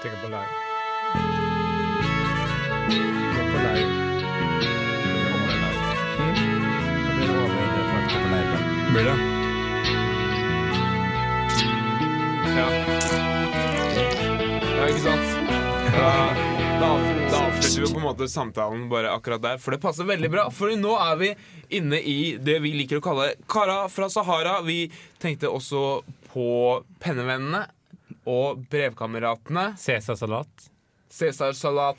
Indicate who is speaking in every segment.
Speaker 1: Stikker på lag. Går på lag.
Speaker 2: Hmm?
Speaker 1: Blir det? Ja.
Speaker 2: Ja, ikke sant? Da, da, da avslutter vi på en måte samtalen bare akkurat der, for det passer veldig bra. For nå er vi inne i det vi liker å kalle Kara fra Sahara. Vi tenkte også på pennevennene og brevkameratene.
Speaker 1: Cæsarsalat.
Speaker 2: Cæsarsalat.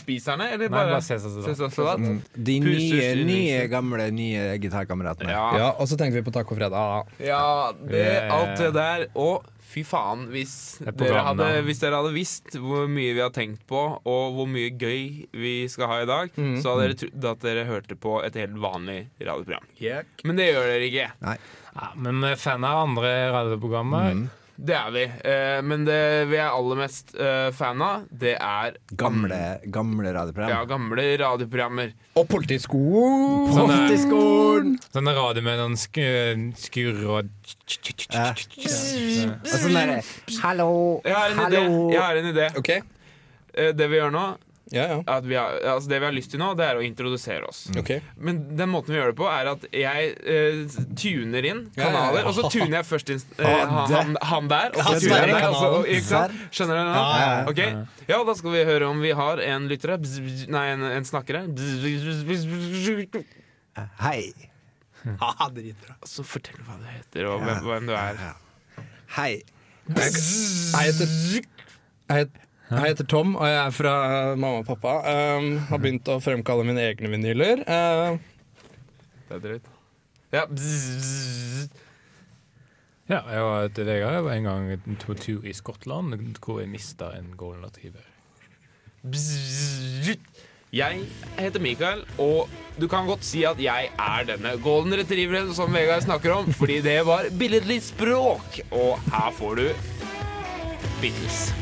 Speaker 2: Spiserne, eller
Speaker 1: Nei,
Speaker 2: bare,
Speaker 1: bare cæsarsalat.
Speaker 2: Cæsarsalat? Mm.
Speaker 3: Mm.
Speaker 4: De nye,
Speaker 2: Puses
Speaker 4: nye, gamle, nye gitarkameratene.
Speaker 2: Ja.
Speaker 3: Ja, og så tenkte vi på tacofredag.
Speaker 2: Ja, det,
Speaker 1: Eh.
Speaker 2: alt det der. Og fy faen, hvis
Speaker 1: er
Speaker 2: dere, hadde,
Speaker 1: programnavn.
Speaker 2: hvis dere hadde visst hvor mye vi har tenkt på, og hvor mye gøy vi skal ha i dag, så hadde dere trodd at dere hørte på et helt vanlig radioprogram. Men det gjør dere ikke.
Speaker 1: Ja, men vi er fan av andre radioprogrammer.
Speaker 2: Det er vi. Eh, men det vi er aller mest eh, fan av, det er
Speaker 4: Gamle, gamle
Speaker 2: ja,
Speaker 4: radioprogram.
Speaker 2: gamle radioprogrammer.
Speaker 3: Mm. Og politiskolen!
Speaker 4: Politiskolen!
Speaker 1: Sånne radio med noen sk skurr og
Speaker 4: Ja. Eh, Og sånn derre Hallo,
Speaker 2: Sånn Jeg har en idé.
Speaker 4: hallo.
Speaker 2: Jeg har en idé.
Speaker 3: Ok,
Speaker 2: Eh, det vi gjør nå,
Speaker 3: ja, ja.
Speaker 2: at vi har, altså det vi har lyst til nå, det er å introdusere oss.
Speaker 3: Ok.
Speaker 2: Men den måten vi gjør det på, er at jeg eh, tuner inn kanaler, og så tuner jeg først inn eh,
Speaker 4: Ah, det-
Speaker 2: han, han der, og så
Speaker 3: Han
Speaker 2: tuner jeg
Speaker 3: der i
Speaker 2: der. Og så,
Speaker 3: kanalen.
Speaker 2: ikke sant? Skjønner dere nå?
Speaker 3: Ja,
Speaker 4: ja, ja.
Speaker 2: Ok, ja, da skal vi høre om vi har en lyttere Bzz, bzz, Nei, en, en snakkere. Bzz, bzz, bzz, bzz, bzz.
Speaker 4: Hei.
Speaker 3: Ah, dritbra.
Speaker 2: Så fortell hva du heter, og hvem, hvem du er.
Speaker 4: Hei.
Speaker 3: Jeg heter, jeg het- jeg heter Tom, og jeg er fra eh, mamma og pappa. Um, har begynt å fremkalle mine egne vinyler. Eh,
Speaker 2: Det er drøyt. Ja, bzz, bzz.
Speaker 1: Ja, jeg var til deg òg. En gang på tur i Skottland hvor jeg mista en golden retriever.
Speaker 2: Bzzzt. Jeg heter Mikael, og du kan godt si at jeg er denne golden retrieveren som Vegard snakker om, fordi det var billedlig språk. Og her får du Beatles.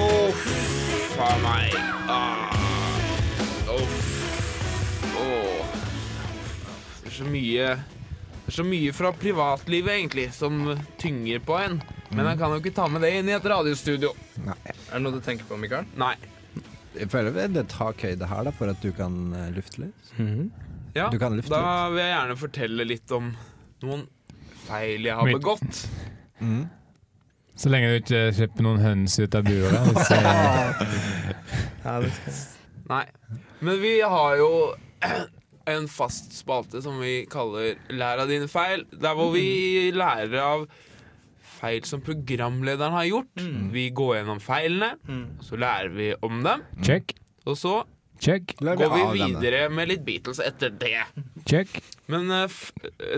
Speaker 2: Uff a meg. Ah. Uff. Åh. Det er så mye Det er så mye fra privatlivet, egentlig, som tynger på en. Men jeg kan jo ikke ta med det inn i et radiostudio.
Speaker 3: er det noe du tenker på, Mikael?
Speaker 2: Nei.
Speaker 4: Jeg føler det er litt takhøyde her da, for at du kan eh, lufte litt.
Speaker 2: Hm. Ja,
Speaker 4: Du kan lufte
Speaker 2: da vil jeg gjerne fortelle litt om noen feil jeg har
Speaker 1: Mitt-
Speaker 2: begått.
Speaker 1: Så lenge du ikke slipper noen høns ut av buret. Så
Speaker 2: Nei. Men vi har jo en fast spalte som vi kaller Lær av dine feil. Der hvor vi lærer av feil som programlederen har gjort. Vi går gjennom feilene, og så lærer vi om dem.
Speaker 1: check,
Speaker 2: Og så
Speaker 1: check,
Speaker 2: går vi videre med litt Beatles etter det.
Speaker 1: check.
Speaker 2: Men eh, f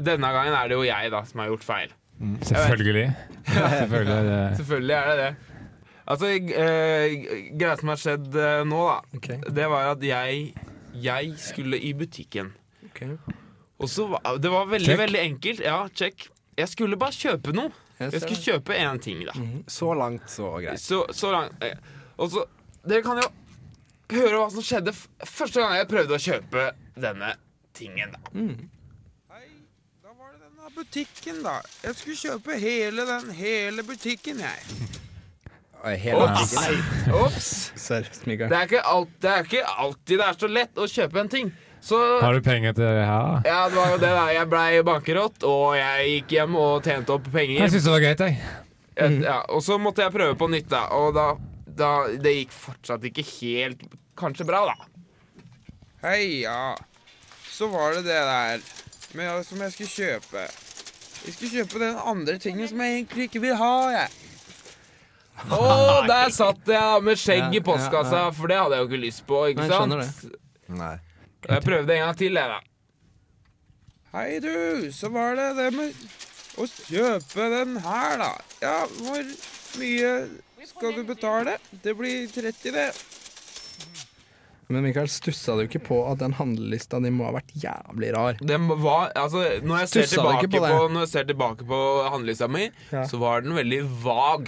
Speaker 2: denne gangen er det jo jeg da som har gjort feil.
Speaker 1: Selvfølgelig. Selvfølgelig er det.
Speaker 2: Selvfølgelig er det det. Altså, eh, greia som har skjedd eh, nå, da, det var at jeg, jeg skulle i butikken. Og så var Det var veldig,
Speaker 1: Check.
Speaker 2: veldig enkelt. Ja, check. Jeg skulle bare kjøpe noe. Jeg skulle kjøpe én ting, da.
Speaker 4: Så langt, så greit.
Speaker 2: Så, så langt eh, Og så Dere kan jo høre hva som skjedde f første gang jeg prøvde å kjøpe denne tingen, da. Da var det denne butikken, da. Jeg skulle kjøpe hele den hele butikken, jeg.
Speaker 4: Og Hele butikken.
Speaker 2: Ops.
Speaker 3: Seriøst,
Speaker 2: Det
Speaker 3: Mikael.
Speaker 2: er, ikke alt, det er ikke alltid det er så lett å kjøpe en ting. Så
Speaker 1: Har du penger til det her?
Speaker 2: ja, det var jo det da. Jeg blei bankerott, og jeg gikk hjem og tjente opp
Speaker 1: Jeg
Speaker 2: penger.
Speaker 1: syns det var greit, jeg.
Speaker 3: Mm.
Speaker 2: Et, ja, og så måtte jeg prøve på nytt, da. Og da, da Det gikk fortsatt ikke helt kanskje bra, da. Hei, ja. Så var det det der som jeg skulle kjøpe. Jeg skulle kjøpe den andre tingen som jeg egentlig ikke vil ha, jeg. Å, der satt jeg da med skjegg i
Speaker 3: Ja, ja, ja.
Speaker 2: postkassa, for det hadde jeg jo ikke lyst på. ikke
Speaker 3: Nei, jeg
Speaker 2: sant?
Speaker 3: skjønner det.
Speaker 4: Nei.
Speaker 2: Jeg prøvde en gang til, jeg, da. Hei, du. Så var det det med å kjøpe den her, da. Ja, hvor mye skal du betale? Det blir 30, det.
Speaker 3: Men Mikael, stussa du ikke på at den handlelista di må ha vært jævlig rar?
Speaker 2: Det var, altså, når, jeg ser
Speaker 3: Stussa du
Speaker 2: tilbake
Speaker 3: ikke
Speaker 2: på
Speaker 3: på det?
Speaker 2: når jeg ser tilbake på handlelista mi,
Speaker 3: Ja.
Speaker 2: så var den veldig vag.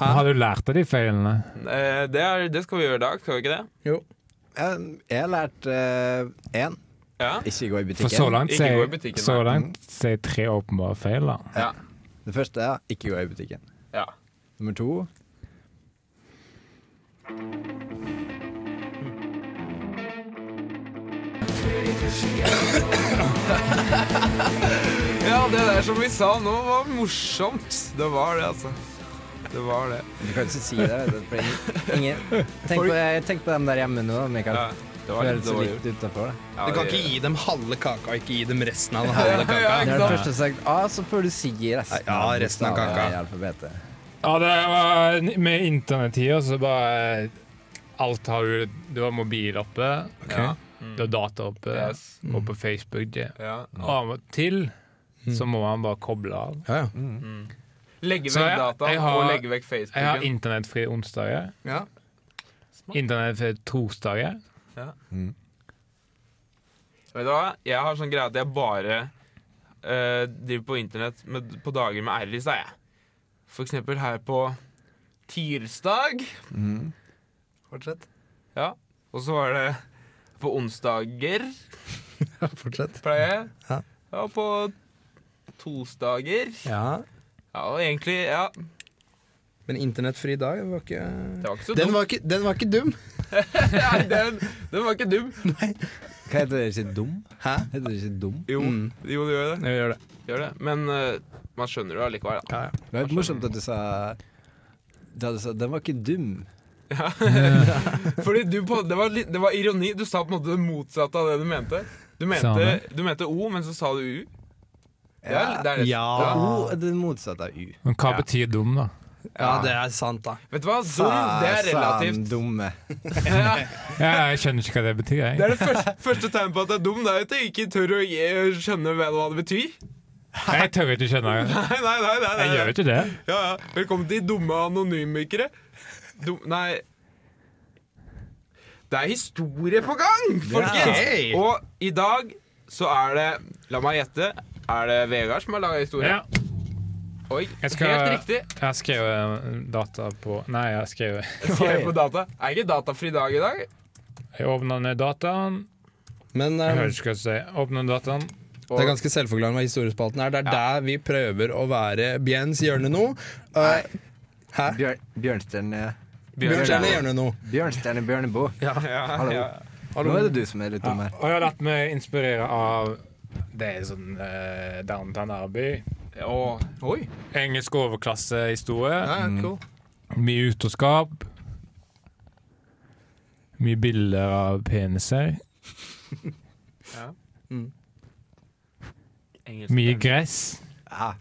Speaker 1: Har du lært av de feilene?
Speaker 2: Eh, det, er, det skal vi gjøre i dag, skal vi ikke det?
Speaker 3: Jo.
Speaker 4: Jeg, jeg har lært én.
Speaker 2: Ja.
Speaker 4: ikke gå i butikken.
Speaker 1: For så langt
Speaker 2: Ikke
Speaker 1: så
Speaker 2: gå i
Speaker 1: er
Speaker 2: butikken,
Speaker 1: så langt, så er tre åpenbare feil, da.
Speaker 2: ja.
Speaker 4: Det første er ikke gå i butikken.
Speaker 2: Ja.
Speaker 4: Nummer to.
Speaker 2: ja, det der som vi sa nå, var morsomt. Det var det, altså. Det var det.
Speaker 4: Du kan ikke si det. vet du, for ingen- ingen, tenk, på, tenk på dem der hjemme nå, Mikael.
Speaker 2: Ja, det
Speaker 4: Du
Speaker 2: var
Speaker 4: høres
Speaker 2: litt
Speaker 4: så
Speaker 2: dårlig
Speaker 4: litt
Speaker 2: gjort.
Speaker 4: utenfor det.
Speaker 2: Ja,
Speaker 3: Du kan ikke
Speaker 2: det-
Speaker 3: gi dem halve kaka, ikke gi dem resten av den halve
Speaker 2: Ja,
Speaker 3: kaka.
Speaker 4: Det er
Speaker 2: ikke
Speaker 4: det
Speaker 2: sant?
Speaker 4: første sagt A, så får du si resten.
Speaker 3: Ja, resten av
Speaker 4: bokstavene
Speaker 3: kaka.
Speaker 4: i alfabetet.
Speaker 1: Ja, det var med internettida, så bare eh, Alt har du Du har mobil oppe,
Speaker 2: Ja.
Speaker 1: du har data oppe,
Speaker 2: Mm.
Speaker 1: Mm.
Speaker 2: Yes.
Speaker 1: og på Facebook det.
Speaker 2: Ja.
Speaker 1: Og av og til så må han bare koble av.
Speaker 3: Ja, ja.
Speaker 2: Legge
Speaker 1: Så
Speaker 2: vekk
Speaker 1: jeg-
Speaker 2: data
Speaker 1: jeg har-
Speaker 2: og legge vekk
Speaker 1: Jeg har
Speaker 2: Facebooken.
Speaker 1: internettfri onsdager,
Speaker 2: Ja.
Speaker 1: internettfri torsdager.
Speaker 2: Vet du hva? Jeg har sånn greie at jeg bare eh, driver på internett med, på dager med r-lys, da, jeg. For eksempel her på tirsdag.
Speaker 3: Fortsett.
Speaker 2: Ja. Og så var det på onsdager,
Speaker 3: Fortsett.
Speaker 2: pleier jeg.
Speaker 3: Ja.
Speaker 2: Ja, på torsdager.
Speaker 3: Ja.
Speaker 2: Ja, og egentlig Ja,
Speaker 3: Men internettfri dag var ikke
Speaker 2: det var ikke så
Speaker 3: Den
Speaker 2: dumt.
Speaker 3: var ikke, den var ikke dum.
Speaker 2: Nei, den, den var ikke dum.
Speaker 4: Hva heter det? Ikke dum?
Speaker 3: Hæ?
Speaker 4: Heter det ikke dum?
Speaker 2: Jo,
Speaker 3: Mm.
Speaker 2: jo det gjør det.
Speaker 3: Jeg gjør det.
Speaker 2: Gjør det. Men eh, man skjønner det allikevel, da.
Speaker 3: Ja, ja.
Speaker 4: Det var litt morsomt at du sa da du sa, Den var ikke dum.
Speaker 2: Fordi du på, det, var litt, det var ironi. Du sa på en måte det motsatte av det du mente. Du
Speaker 1: Sa
Speaker 2: mente,
Speaker 1: han
Speaker 2: du mente O, men så sa du U. Det er, det er det.
Speaker 3: Ja.
Speaker 4: O er det motsatte av U.
Speaker 1: Men hva
Speaker 2: Ja.
Speaker 1: betyr dum, da?
Speaker 3: ja, det er sant, da.
Speaker 2: Vet du hva? Dum, det er
Speaker 4: Faen,
Speaker 2: relativt.
Speaker 4: dumme.
Speaker 2: Ja,
Speaker 1: Ja, jeg skjønner ikke hva det betyr.
Speaker 2: det
Speaker 1: Jeg,
Speaker 2: er det første, første tegnet på at det er dum. Det er jo at jeg ikke tør å gi- skjønne hva det betyr.
Speaker 1: jeg tør ikke skjønne det.
Speaker 2: Nei, nei, nei. nei,
Speaker 1: Jeg
Speaker 2: nei.
Speaker 1: gjør jo ikke det.
Speaker 2: Ja, ja. Velkommen til dumme anonymikere. Dum, nei Det er historie på gang, folkens!
Speaker 3: Hey.
Speaker 2: Og i dag så er det La meg gjette. Er det Vegard som har laga historie?
Speaker 1: Ja,
Speaker 2: Oi,
Speaker 1: Jeg skal-
Speaker 2: Helt riktig.
Speaker 1: jeg har skrevet data på Nei, jeg har skrevet
Speaker 2: Skrev på data. Er ikke datafri dag i dag?
Speaker 1: Jeg åpner ned dataen.
Speaker 3: Men
Speaker 1: Jeg
Speaker 3: um,
Speaker 1: hører ikke hva jeg sier. Åpner dataen.
Speaker 3: Det er ganske selvforklarende hva historiespalten er. Det er der vi prøver å være Bjens hjørne nå. Uh, Hæ?
Speaker 4: Bjørn, Bjørnstjerne
Speaker 3: Bjørns hjørne nå.
Speaker 4: Bjørnstjerne Bjørneboe.
Speaker 2: Ja,
Speaker 4: Hallo.
Speaker 2: ja.
Speaker 4: Nå er det du som er litt dum her.
Speaker 3: Ah.
Speaker 1: Og jeg har latt meg inspirere av Det er sånn eh, downtown Abbey.
Speaker 2: Og, oi.
Speaker 1: Engelsk overklassehistorie.
Speaker 2: Ja,
Speaker 3: Mm.
Speaker 2: cool.
Speaker 1: Mye utroskap. Mye bilder av peniser.
Speaker 2: Engelsk.
Speaker 1: Mye gress.
Speaker 4: Ja.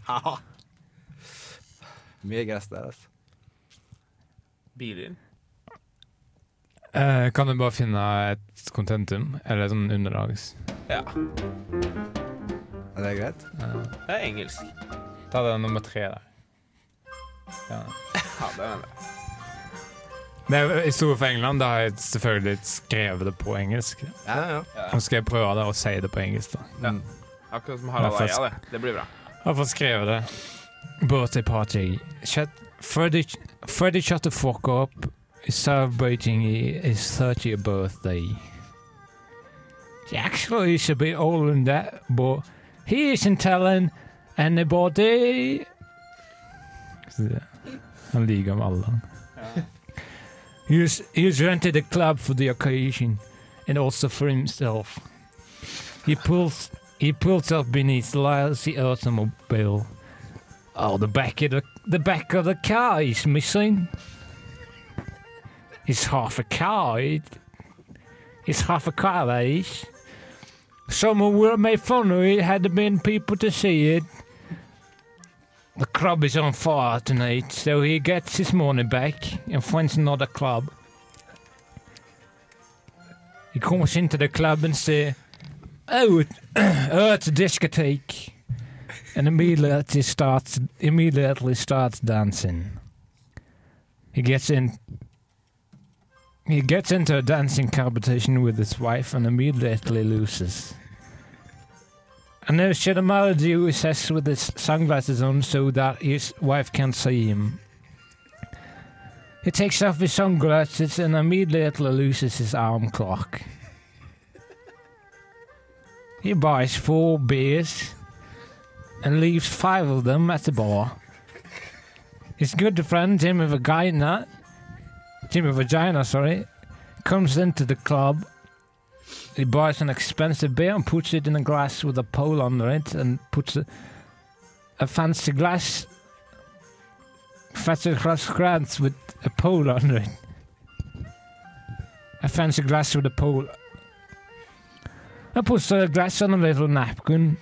Speaker 4: Mye gress der, altså.
Speaker 2: Biler.
Speaker 1: Eh, kan du bare finne et kontentum? Eller sånn underlags?
Speaker 2: Ja.
Speaker 4: Er det greit?
Speaker 2: Det er engelsk.
Speaker 1: Ta den nummer tre der. Ja.
Speaker 2: Ja, det er det.
Speaker 1: Det er historie fra England. Da har jeg selvfølgelig skrevet det på engelsk.
Speaker 3: Ja, ja.
Speaker 1: Nå skal jeg prøve det og si det på engelsk. da.
Speaker 4: Mm.
Speaker 2: Akkurat som Harald
Speaker 1: Det er
Speaker 2: Eia, det. Det blir bra.
Speaker 1: Hvorfor skrev jeg det? Birthday party. Shut, Freddy, Freddy shut the fuck up. He's Celebrating his 30th birthday. He actually should be older than that, but he isn't telling anybody. Så det- Han lyver om alderen. He's, he's rented a club for the occasion and also for himself. He pulls he pulls up beneath the lousy automobile. Oh, the back of the the back of the car is missing. It's half a car. It, it's half a car. That is. Someone would have made fun of it had there been people to see it. The club is on fire tonight, so he gets his money back and finds another club. He comes into the club and says, Oh, it- oh, it's a discotheque. And immediately starts immediately starts dancing. He gets in he gets into a dancing competition with his wife and immediately loses. And there's Shadamaladi who says with his sunglasses on so that his wife can't see him. He takes off his sunglasses and immediately loses his arm clock. He buys four beers and leaves five of them at the bar. It's good to friend Jimmy Vagina. Jimmy Vagina, sorry. Comes into the club. He buys an expensive beer and puts it in a glass with a pole under it and puts a, a fancy glass. Fancy glass grants with a pole under it. A fancy glass with a pole. I puts a glass on a little napkin.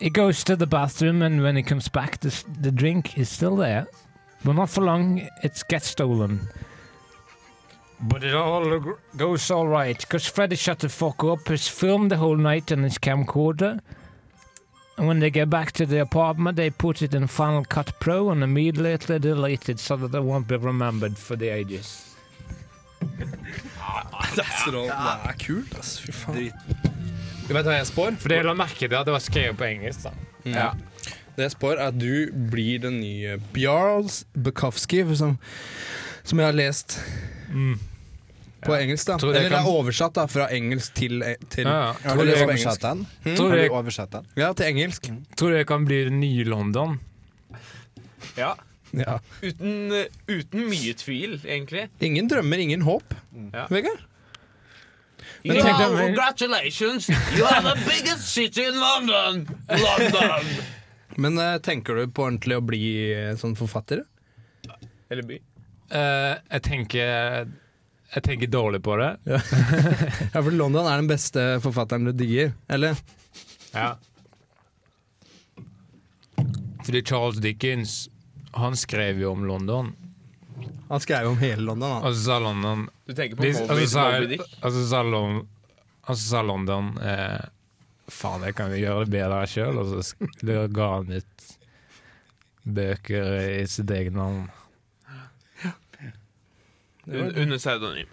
Speaker 1: He goes to the bathroom, and when he comes back, the, s- the drink is still there. But not for long, it gets stolen. But it all ag- goes all right, because Freddy shut the fuck up, he's filmed the whole night on his camcorder. And when they get back to the apartment, they put it in Final Cut Pro and immediately delete it so that it won't be remembered for the ages.
Speaker 3: Det er kult, ass. Fy faen. Du vet hva jeg spår?
Speaker 1: For det la merke til at det var skrevet på engelsk, da.
Speaker 3: Ja. Det jeg spår, er at du blir den nye Bjarls Bukowski, som, som jeg har lest på engelsk. da
Speaker 1: Tror du det
Speaker 3: Eller Mm. det
Speaker 1: kan-
Speaker 3: er oversatt da fra engelsk til, til
Speaker 1: Ja, ja.
Speaker 3: Tror
Speaker 4: Har du
Speaker 3: det er på
Speaker 4: oversatt
Speaker 3: engelsk.
Speaker 4: den?
Speaker 1: Tror
Speaker 4: Har
Speaker 1: det,
Speaker 4: du oversatt den?
Speaker 3: Ja, til engelsk.
Speaker 1: tror det kan bli det nye London.
Speaker 2: Ja.
Speaker 3: Ja.
Speaker 2: Uten, eh, uten mye tvil, egentlig.
Speaker 3: Ingen drømmer, ingen håp.
Speaker 2: Ja.
Speaker 3: Vegard?
Speaker 1: Men
Speaker 2: Wow,
Speaker 1: tenk deg-
Speaker 2: congratulations! You are the biggest city in London! London!
Speaker 3: Men eh, tenker du på ordentlig å bli eh, sånn forfatter?
Speaker 2: Eller by.
Speaker 1: Eh, jeg tenker Jeg tenker dårlig på det.
Speaker 3: Ja, for London er den beste forfatteren du digger. Eller?
Speaker 1: Ja. Fordi Charles Dickens Han skrev jo om London.
Speaker 3: Han skrev jo om hele London. da.
Speaker 1: Og så sa London
Speaker 2: Du tenker på
Speaker 1: Hvis- altså, Og så
Speaker 2: Moby,
Speaker 1: sa,
Speaker 2: Moby Dick?
Speaker 1: og så sa, Lon- og så sa London altså, eh, Faen, jeg kan jo gjøre det bedre sjøl. Og så sk- da ga han ut bøker i sitt eget navn.
Speaker 2: Un- Under pseudonym.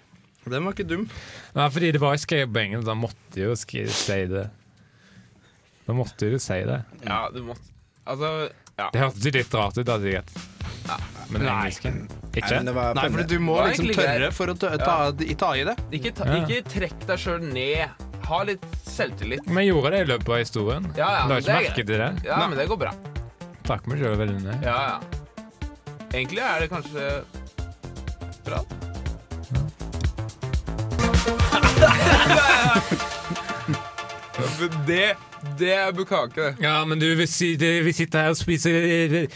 Speaker 3: Den var ikke dum.
Speaker 1: Nei, fordi det var skrevet på engelsk. Da måtte jo skri- si det. Da måtte jo si det.
Speaker 2: Ja, du måtte Altså, ja.
Speaker 1: Det hørtes jo litt rart ut, da, sikkert. Men engelsken Ikke?
Speaker 4: det var
Speaker 3: Nei, for du må
Speaker 2: Det var
Speaker 3: liksom
Speaker 2: egentlig
Speaker 3: tørre
Speaker 2: greit.
Speaker 3: for å ta, ta, ta i det.
Speaker 2: Ikke, ta,
Speaker 1: Ja.
Speaker 2: ikke trekk deg sjøl ned. Ha litt selvtillit.
Speaker 1: Men jeg gjorde det i løpet av historien.
Speaker 2: Ja,
Speaker 1: du
Speaker 2: ja,
Speaker 1: har
Speaker 2: men
Speaker 1: ikke
Speaker 2: det er
Speaker 1: merket til det?
Speaker 2: Ja, men det går bra.
Speaker 1: Takk meg sjøl veldig ned.
Speaker 2: Ja, ja. Egentlig er det kanskje bra. det, det er bukake, det.
Speaker 1: Ja, men du, vi si- det- vi sitter her og spiser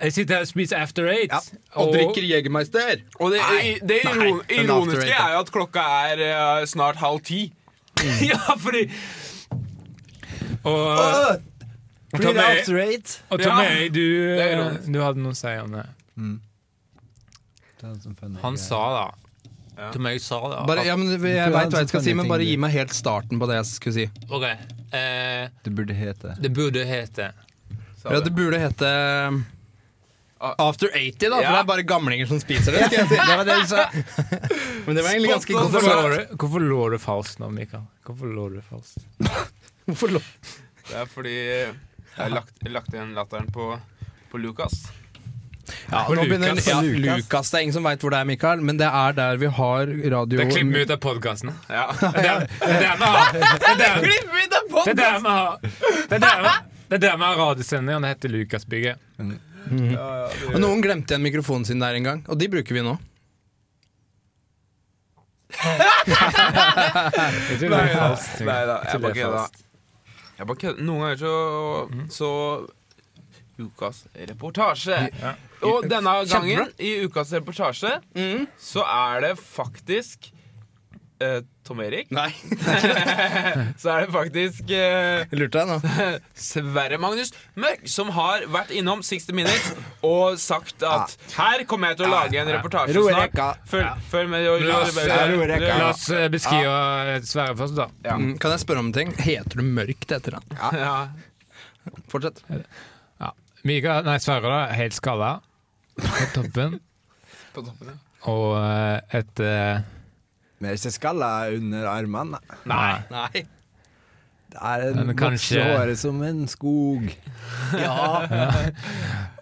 Speaker 1: Jeg sitter her og spiser After Eight.
Speaker 3: Og drikker Jegermeister.
Speaker 2: Og det, det iron,
Speaker 3: Nei, den er after
Speaker 2: ironiske
Speaker 3: eight, da.
Speaker 2: er jo at klokka er eh, snart halv ti. Mm.
Speaker 1: Ja, fordi Og, og
Speaker 4: Blir det
Speaker 1: Tommy,
Speaker 4: after eight?
Speaker 1: og Tommy
Speaker 2: Ja,
Speaker 1: du,
Speaker 2: er ironisk.
Speaker 1: du hadde noe å si om det. Han sa da Tommy sa da
Speaker 3: Bare, ja, men jeg
Speaker 4: Du
Speaker 3: vet
Speaker 4: har en
Speaker 3: hva jeg skal
Speaker 4: sånn
Speaker 3: si, men
Speaker 4: ting,
Speaker 3: bare
Speaker 4: du.
Speaker 3: gi meg helt starten på det jeg skulle si.
Speaker 1: OK. Eh,
Speaker 4: Det burde hete
Speaker 1: det burde hete
Speaker 2: sa
Speaker 3: Ja,
Speaker 2: det.
Speaker 3: det burde hete um, After 80, da, for
Speaker 2: Ja.
Speaker 3: det er bare gamlinger som spiser det. Skal jeg si. det var det du sa. Men det var egentlig ganske
Speaker 2: Spot on.
Speaker 3: godt.
Speaker 1: Hvorfor lå du, hvorfor lå du falskt nå, Mikael? Hvorfor lå du falskt?
Speaker 3: Hvorfor lå-
Speaker 2: Det er fordi jeg har lagt, lagt igjen latteren på, på Lukas.
Speaker 3: Ja,
Speaker 1: For
Speaker 3: nå begynner
Speaker 1: Lukas.
Speaker 3: ja,
Speaker 4: Lukas.
Speaker 3: Lukas. Det er ingen som veit hvor det er, Mikael, men det er der vi har radio
Speaker 1: Det klipper vi ut av podkasten.
Speaker 2: Ja.
Speaker 1: Det er det er der vi har Det er der- det er der vi har Det er der vi- det er der vi har radiosendingen. Det heter Lukasbygget.
Speaker 3: Og Noen glemte igjen mikrofonen sin der en gang, og de bruker vi nå.
Speaker 1: Ikke det er falskt.
Speaker 2: Nei da, jeg
Speaker 1: Ikke
Speaker 2: bare
Speaker 1: det er
Speaker 2: kødda.
Speaker 1: falskt.
Speaker 2: Jeg bare kødder. Noen ganger så Så Ukas reportasje. Og denne gangen, i ukas reportasje, så er det faktisk eh, Tom Erik.
Speaker 3: Nei,
Speaker 2: Så er det faktisk eh,
Speaker 3: jeg lurte deg nå.
Speaker 2: Sverre Magnus Mørk som har vært innom 60 Minutes og sagt at her kommer jeg til å lage en reportasje
Speaker 4: Ro i
Speaker 2: snart.
Speaker 4: rekka.
Speaker 2: Følg, følg med. og-
Speaker 1: La oss,
Speaker 4: ro i rekka.
Speaker 1: La oss eh, beskrive eh, Sverre først, da.
Speaker 2: Ja.
Speaker 3: Mm, Kan jeg spørre om en ting? Heter du Mørkt etter han?
Speaker 2: Ja.
Speaker 3: Fortsett.
Speaker 1: Mikael, nei, Sverre da, er helt skalla på toppen.
Speaker 2: På toppen, ja.
Speaker 1: Og eh, et eh,
Speaker 4: Men ikke skalla under armene.
Speaker 1: Nei.
Speaker 3: Nei.
Speaker 4: Det er
Speaker 1: Men
Speaker 4: en
Speaker 1: kanskje-
Speaker 4: kanskje... håret som en skog.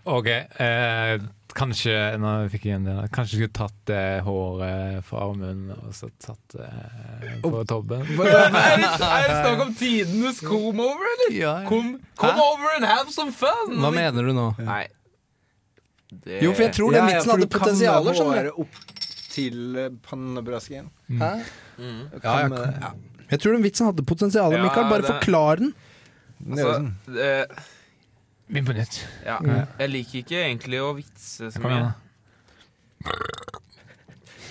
Speaker 1: OK. Eh, Kanskje når jeg fikk igjen det, kanskje jeg skulle tatt eh, håret fra armen og så tatt eh, på tobben.
Speaker 2: Er det, er det snakk om tidenes come over, eller? Come, come over and have some fun!
Speaker 3: Hva mener du nå?
Speaker 2: Nei. Det...
Speaker 3: Jo, for jeg tror den vitsen hadde potensial. sånn, skjønner du.
Speaker 4: opp til pannebrasken.
Speaker 3: Hæ?
Speaker 4: Du
Speaker 3: Ja,
Speaker 4: kan
Speaker 3: jeg
Speaker 4: med det.
Speaker 3: Mm. Jeg tror den vitsen hadde potensial,
Speaker 2: Ja,
Speaker 3: Mikael. Bare
Speaker 2: det-
Speaker 3: forklar den.
Speaker 2: altså, det,
Speaker 1: Begynn på nytt.
Speaker 2: ja. Jeg liker ikke egentlig å vitse så
Speaker 1: Kom igjen,
Speaker 2: mye.
Speaker 1: da.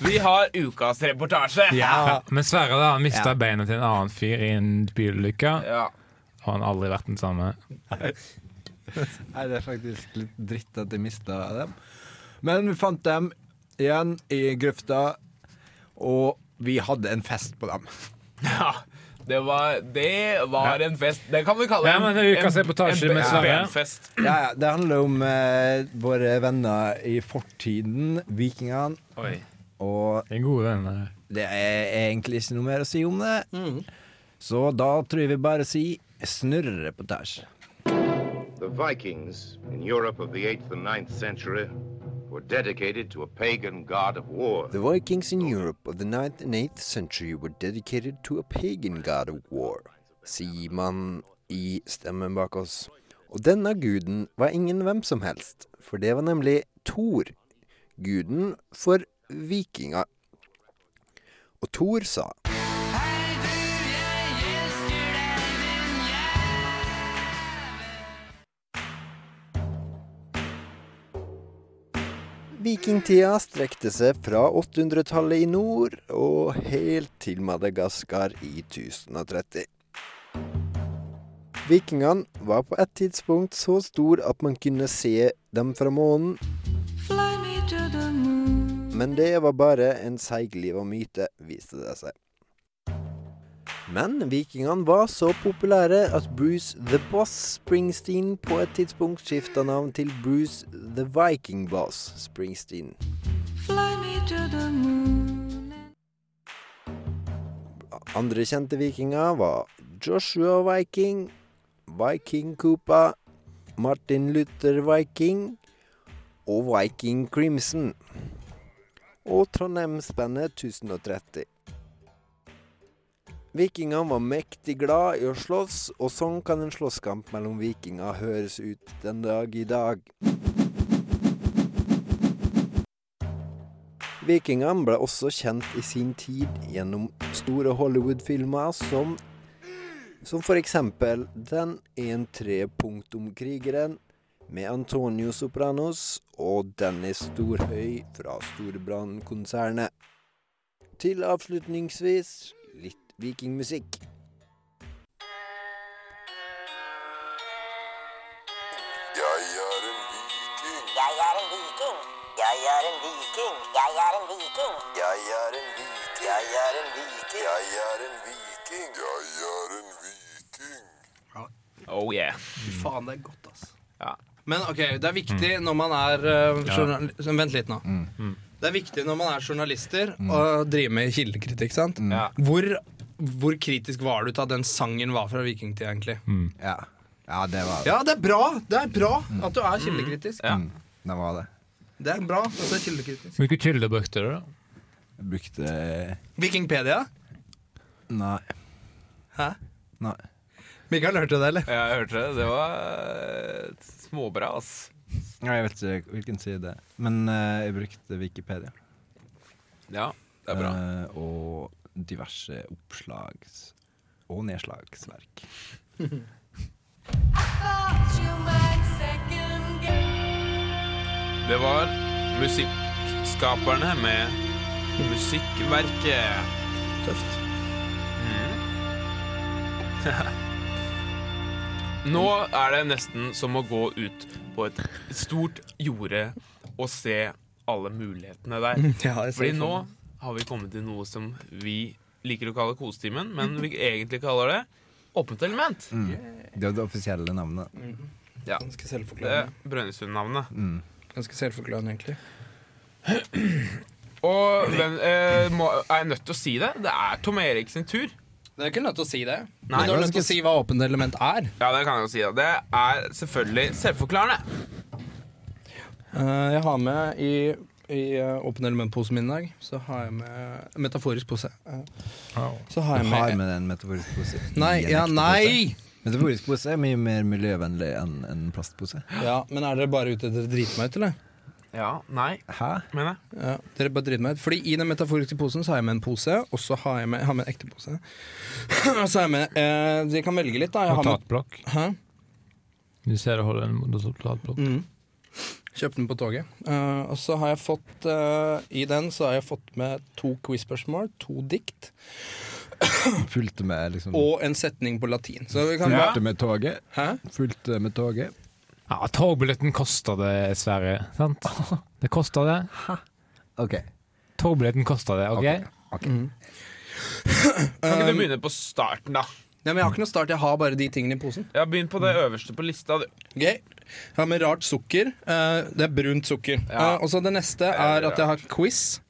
Speaker 2: Vi har ukas reportasje!
Speaker 1: Ja. Men Sverre da, han mista beinet til en annen fyr i en bilulykke.
Speaker 2: Ja.
Speaker 1: Og han har aldri vært den samme.
Speaker 4: Nei, det er faktisk litt dritt at jeg mista dem. Men vi fant dem igjen i grøfta, og vi hadde en fest på dem.
Speaker 2: Ja, det var, det var en fest. Det kan vi kalle
Speaker 1: Ja, men det er ukas reportasje med Sverre.
Speaker 2: benfest.
Speaker 4: Ja, ja, det handler om eh, våre venner i fortiden, vikingene,
Speaker 1: Oi.
Speaker 4: og
Speaker 1: Det er gode venner.
Speaker 4: Det er egentlig ikke noe mer å si om det. Så da tror jeg vi bare sier snurrereportasje.
Speaker 5: The Vikings in Europe of the 8th and 9th century were dedicated to a pagan god of war.
Speaker 6: The Vikings in Europe of the 9th and 8th century were dedicated to a pagan god of war, sier man i stemmen bak oss. Og denne guden var ingen hvem som helst, for det var nemlig Thor, guden for vikinger. Og Thor sa Vikingtida strekte seg fra 800-tallet i nord og helt til Madagaskar i 1030. Vikingene var på et tidspunkt så stor at man kunne se dem fra månen,
Speaker 7: Fly me to the moon.
Speaker 6: men det var bare en seigliva myte, viste det seg. Men vikingene var så populære at Bruce The Boss Springsteen på et tidspunkt skifta navn til Bruce The Viking Boss Springsteen.
Speaker 7: Fly me to the moon.
Speaker 6: Andre kjente vikinger var Joshua Viking, Viking Coopa, Martin Luther Viking og Viking Crimson. Og Trondheimsspennet 1030. Vikingene var mektig glad i å slåss, og sånn kan en slåsskamp mellom vikinger høres ut den dag i dag. Vikingene ble også kjent i sin tid gjennom store Hollywood-filmer som som for eksempel Den 1-3-punktum-krigeren med Antonio Sopranos og Dennis Storhøy fra Storbrann-konsernet. Til avslutningsvis litt vikingmusikk.
Speaker 8: Jeg er en viking. Jeg er en viking. Jeg er en viking. Jeg er en viking. Jeg er en viking. Jeg er en viking. Jeg er en viking. Jeg er en viking.
Speaker 2: Oh yeah.
Speaker 3: Faen, det er godt, ass.
Speaker 2: Ja.
Speaker 3: Men ok, det er viktig når man er eh, journal... Vent litt nå.
Speaker 2: Mm.
Speaker 3: Det er viktig når man er journalister å drive med kildekritikk, sant?
Speaker 2: Ja.
Speaker 3: Hvor, hvor kritisk var du til at den sangen var fra vikingtida, egentlig?
Speaker 4: Ja. ja, det var det.
Speaker 3: Ja, det er bra! Det er bra at du er kildekritisk.
Speaker 2: Ja.
Speaker 4: Mm, det var det.
Speaker 3: Det er bra at du er kildekritisk.
Speaker 1: Hvilke kilder brukte du, da?
Speaker 4: Jeg brukte eh,
Speaker 3: Vikingpedia?
Speaker 4: Nei.
Speaker 3: Hæ?
Speaker 4: Nei.
Speaker 3: Mikael hørte det, eller?
Speaker 2: Ja, Jeg hørte det. Det var eh, småbra, ass.
Speaker 4: Nei, Jeg vet ikke hvilken side det er. Men eh, jeg brukte Wikipedia.
Speaker 2: Ja, det er bra.
Speaker 4: Eh, og diverse oppslags- og nedslagsverk.
Speaker 7: Thought you might second guess.
Speaker 2: Det var musikkskaperne med musikkverket. Mm.
Speaker 3: Tøft.
Speaker 2: Nå er det nesten som å gå ut på et stort jorde og se alle mulighetene der.
Speaker 3: Ja, jeg ser
Speaker 2: Fordi
Speaker 3: for
Speaker 2: nå
Speaker 3: meg.
Speaker 2: har vi kommet til noe som vi liker å kalle kosetimen, men vi egentlig kaller det åpent element.
Speaker 4: Det er det offisielle navnet.
Speaker 3: Mm.
Speaker 2: Ja,
Speaker 3: Ganske
Speaker 2: det er
Speaker 3: selvforklarende.
Speaker 2: Brønnøysund-navnet.
Speaker 3: Ganske selvforklarende, egentlig.
Speaker 2: Og hvem, eh, må, er jeg nødt til å si det? Det er Tom Erik sin tur.
Speaker 3: Du er ikke nødt til å si det.
Speaker 2: Nei.
Speaker 3: Men du er nødt til å si hva åpent element er.
Speaker 2: Ja, det kan jeg jo si. da. Det er selvfølgelig selvforklarende.
Speaker 3: Eh, jeg har med i, i eh, åpen elementposen min i dag, så har jeg med Metaforisk pose. Eh, Så har jeg
Speaker 4: Du
Speaker 3: med,
Speaker 4: har med en metaforisk pose. i
Speaker 3: Nei!
Speaker 4: en
Speaker 3: Ja,
Speaker 4: ekte
Speaker 3: nei!
Speaker 4: pose. Metaforisk pose er mye mer miljøvennlig enn en plastpose.
Speaker 3: Ja, men er dere bare ute etter å drite meg ut, eller?
Speaker 2: Ja, nei,
Speaker 4: Hæ?
Speaker 2: mener jeg.
Speaker 3: Ja, dere bare driter meg ut. Fordi i den metaforiske posen så har jeg med en pose, og så har jeg med, jeg har med en ekte pose. Og så har jeg med eh, Dere kan velge litt, da. Jeg har med,
Speaker 1: Notatblokk.
Speaker 3: hæ?
Speaker 1: Du ser det holder en notatblokk.
Speaker 3: Mm. Kjøpte den på toget. Eh, og så har jeg fått eh, I den så har jeg fått med to quiz-spørsmål, to dikt
Speaker 4: Fulgte med liksom
Speaker 3: og en setning på latin. Så vi kan bare
Speaker 4: Fulgte med toget.
Speaker 3: Hæ?
Speaker 4: Fulgte med toget.
Speaker 1: Ja, togbilletten koster det, Sverre. Sant? Det koster det.
Speaker 4: OK.
Speaker 1: Togbilletten koster det, OK?
Speaker 2: Kan ikke du begynne på starten, da?
Speaker 3: Nei, men Jeg har ikke noe start, jeg har bare de tingene i posen.
Speaker 2: Ja, Begynn på det øverste på lista, du.
Speaker 3: Gøy. Jeg har med rart sukker. Eh, det er brunt sukker.
Speaker 2: Ja.
Speaker 3: Eh, og så det neste er at jeg har quiz.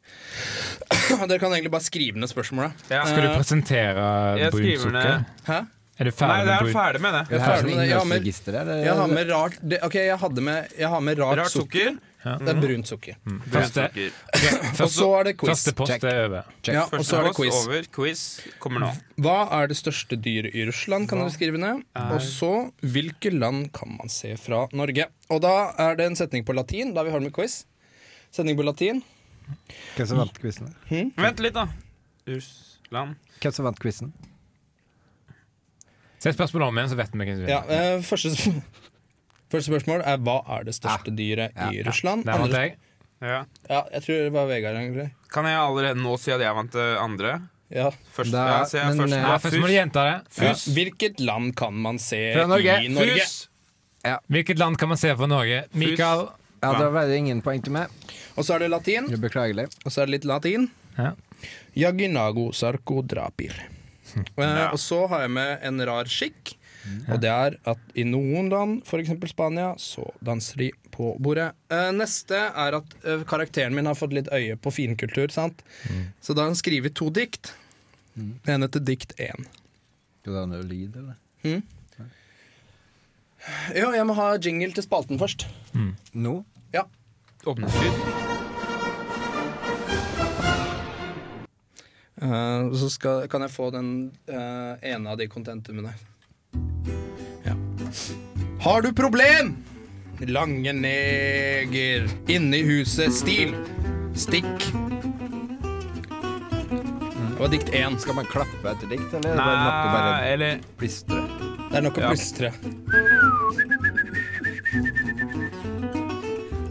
Speaker 3: Dere kan egentlig bare skrive ned spørsmålet.
Speaker 2: Ja.
Speaker 1: Skal du presentere
Speaker 2: Jeg
Speaker 1: brunt
Speaker 2: skriver
Speaker 1: sukker?
Speaker 2: ned
Speaker 3: Hæ?
Speaker 1: Er du
Speaker 2: Nei,
Speaker 1: ferdig
Speaker 2: det
Speaker 1: med
Speaker 2: er
Speaker 1: brunt
Speaker 2: ferdig med det.
Speaker 4: Det her
Speaker 3: ferdig
Speaker 4: som
Speaker 3: med det. Jeg har med-
Speaker 4: innholdsregister her.
Speaker 3: Jeg har med rart det, Ok, jeg hadde med, jeg har med rart,
Speaker 2: Rart
Speaker 3: sukker.
Speaker 2: sukker.
Speaker 3: Det er brunt sukker.
Speaker 1: Første,
Speaker 2: Sukker.
Speaker 3: Og så er det quiz.
Speaker 1: første post er over.
Speaker 3: Ja, og så
Speaker 2: Første
Speaker 3: er det
Speaker 2: post
Speaker 3: quiz.
Speaker 2: over. Quiz kommer nå.
Speaker 3: Hva er det største dyret i Russland, kan dere skrive ned. Og så hvilke land kan man se fra Norge? Og da er det en setning på latin, da vi har det med quiz. Setning på latin.
Speaker 4: Hvem som vant quizen?
Speaker 2: Vent litt, da. Russland
Speaker 4: Hvem som vant quizen?
Speaker 1: Se spørsmålet om igjen, så vet vi hvem som
Speaker 3: Ja,
Speaker 1: vinner.
Speaker 3: eh, første, sp- første spørsmål er hva er det største dyret i Russland?
Speaker 1: Der vant
Speaker 3: Andre,
Speaker 1: jeg.
Speaker 2: Ja.
Speaker 3: ja, jeg tror det var Vegard, egentlig.
Speaker 2: Kan jeg allerede nå si at jeg vant det andre?
Speaker 3: Ja.
Speaker 2: Først,
Speaker 4: Da-
Speaker 2: ja, sier jeg
Speaker 4: men,
Speaker 2: først.
Speaker 4: eh,
Speaker 1: Ja,
Speaker 2: Nei,
Speaker 1: først må du gjenta det.
Speaker 3: Ja. Hvilket land kan man se
Speaker 1: Fra Norge.
Speaker 3: i Norge?
Speaker 2: Fus.
Speaker 1: Hvilket land kan man se fra Norge? Mikael.
Speaker 4: Ja, da var det ingen poeng til meg.
Speaker 3: Og så er det latin.
Speaker 4: Det er Beklagelig.
Speaker 3: Og så er det litt latin.
Speaker 1: Ja.
Speaker 3: Jaginago sarkodrapir. Eh, og så har jeg med en rar skikk. Og det er at i noen land, f.eks. Spania, så danser de på bordet. Eh, neste er at eh, karakteren min har fått litt øye på finkultur, sant. Så da har han skrevet to dikt. Det ene heter Dikt 1.
Speaker 4: Skal du ha noe lyd, eller?
Speaker 3: Jo, jeg må ha jingle til spalten først.
Speaker 4: Nå?
Speaker 3: Ja.
Speaker 2: Åpningslyd.
Speaker 3: Eh, så skal, kan jeg få den eh, ene av de kontentumene. Ja. Har du problem? Lange neger. Inne i huset. Stil. Stikk. Det var dikt én.
Speaker 4: Skal man klappe etter dikt, eller er det
Speaker 2: Nei,
Speaker 4: bare nok å bare
Speaker 2: eller
Speaker 4: plystre?
Speaker 3: Det er nok å
Speaker 2: Ja.
Speaker 3: plystre.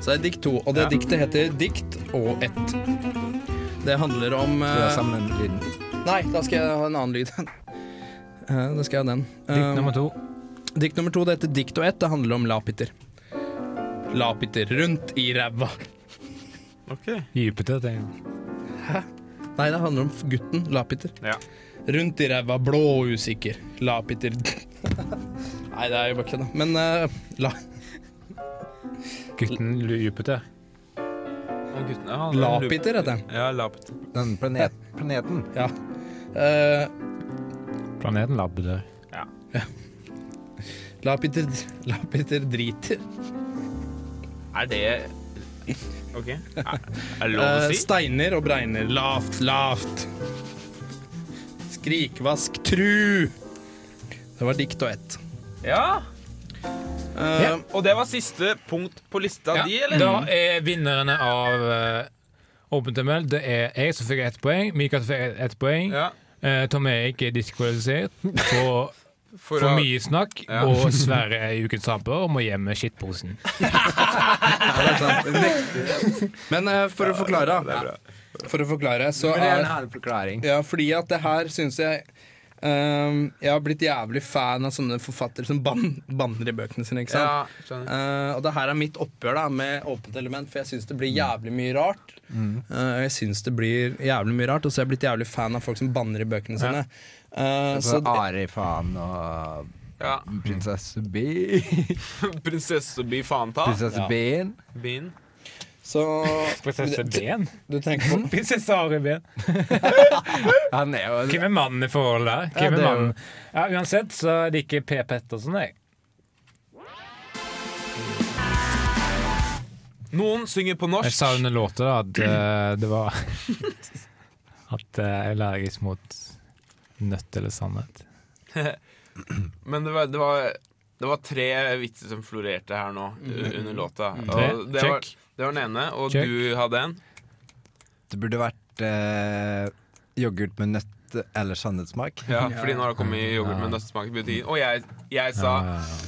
Speaker 3: Så det er dikt to, og det
Speaker 2: Ja.
Speaker 3: diktet heter Dikt og ett. Det handler om
Speaker 4: Det er
Speaker 3: eh,
Speaker 4: samme lyden.
Speaker 3: Nei, da skal jeg ha en annen lyd. Eh, da skal jeg ha den.
Speaker 1: Dikt nummer to.
Speaker 3: Eh, dikt nummer to det heter Dikt og ett. Det handler om Lapiter. Lapiter rundt i ræva.
Speaker 2: Ok.
Speaker 1: Jupiter, tenker jeg.
Speaker 3: Nei, det handler om f- gutten Lapiter.
Speaker 2: Ja.
Speaker 3: Rundt i ræva, blå og usikker. Lapiter Nei, det er jo bare kødda. Men eh, la,
Speaker 1: Gutten Lu- Jupiter.
Speaker 2: Og gutten- ja, det er en lup-
Speaker 3: Lapiter heter den.
Speaker 2: Ja, lapiter.
Speaker 4: Den planet, planeten.
Speaker 3: Ja. Eh,
Speaker 1: Planeten Labbeter.
Speaker 3: Lapiter, Lapiter driter.
Speaker 2: Er det Ok. Er er det lov å
Speaker 3: Eh,
Speaker 2: si?
Speaker 3: steiner og bregner. Lavt, lavt. Skrikvask, tru. Det var dikt og ett.
Speaker 2: Ja.
Speaker 3: Eh,
Speaker 1: Ja.
Speaker 2: Og det var siste punkt på lista di, eller?
Speaker 1: Da er vinnerne av eh, Åpent ML Det er jeg som fikk ett poeng. Mikael som fikk ett poeng.
Speaker 2: Ja.
Speaker 1: Eh, Tom Erik er diskvalifisert for,
Speaker 2: For,
Speaker 1: for
Speaker 2: å-
Speaker 1: mye snakk.
Speaker 2: Ja.
Speaker 1: Og Sverre er ukens taper og må hjem med skittposen.
Speaker 3: Men eh, for å forklare, for å forklare så
Speaker 4: Men det er
Speaker 3: er
Speaker 4: en hard forklaring.
Speaker 3: Ja, fordi at det her syns jeg ehm, Jeg har blitt jævlig fan av sånne forfattere som ban banner i bøkene sine, ikke sant?
Speaker 2: Ja, skjønner.
Speaker 3: Eh, og det her er mitt oppgjør da med åpent element, for jeg syns det blir jævlig mye rart. Eh, jeg syns det blir jævlig mye rart, og så er jeg blitt jævlig fan av folk som banner i bøkene sine. Eh, så
Speaker 4: Så Ari faen og
Speaker 2: Ja.
Speaker 4: prinsesse B.
Speaker 2: Prinsesse blir faen ta.
Speaker 4: Prinsesse
Speaker 1: Ja.
Speaker 4: B-en.
Speaker 2: Bin.
Speaker 3: så
Speaker 1: Prinsesse Ben?
Speaker 3: du tenker på
Speaker 1: Prinsesse Ari Ben.
Speaker 4: Han er jo
Speaker 1: Hvem er mannen i forholdet her?
Speaker 4: Ja,
Speaker 1: Hvem er
Speaker 4: det er jo-
Speaker 1: mannen? Ja, uansett så liker Per Pettersen jeg.
Speaker 2: Noen synger på norsk.
Speaker 1: Jeg savner låter, da. At eh, det var At eh, jeg er allergisk mot nøtt eller sannhet.
Speaker 2: Men det var, det var, det var tre vitser som florerte her nå u- under låta.
Speaker 1: Tre.
Speaker 2: Og det, var,
Speaker 1: Check.
Speaker 2: det var den ene, og
Speaker 1: Check.
Speaker 2: du hadde en.
Speaker 4: Det burde vært eh, yoghurt med nøtt eller sannhetssmak.
Speaker 2: Ja, fordi nå har det kommet yoghurt med nøttesmak i butikken. Og jeg, jeg sa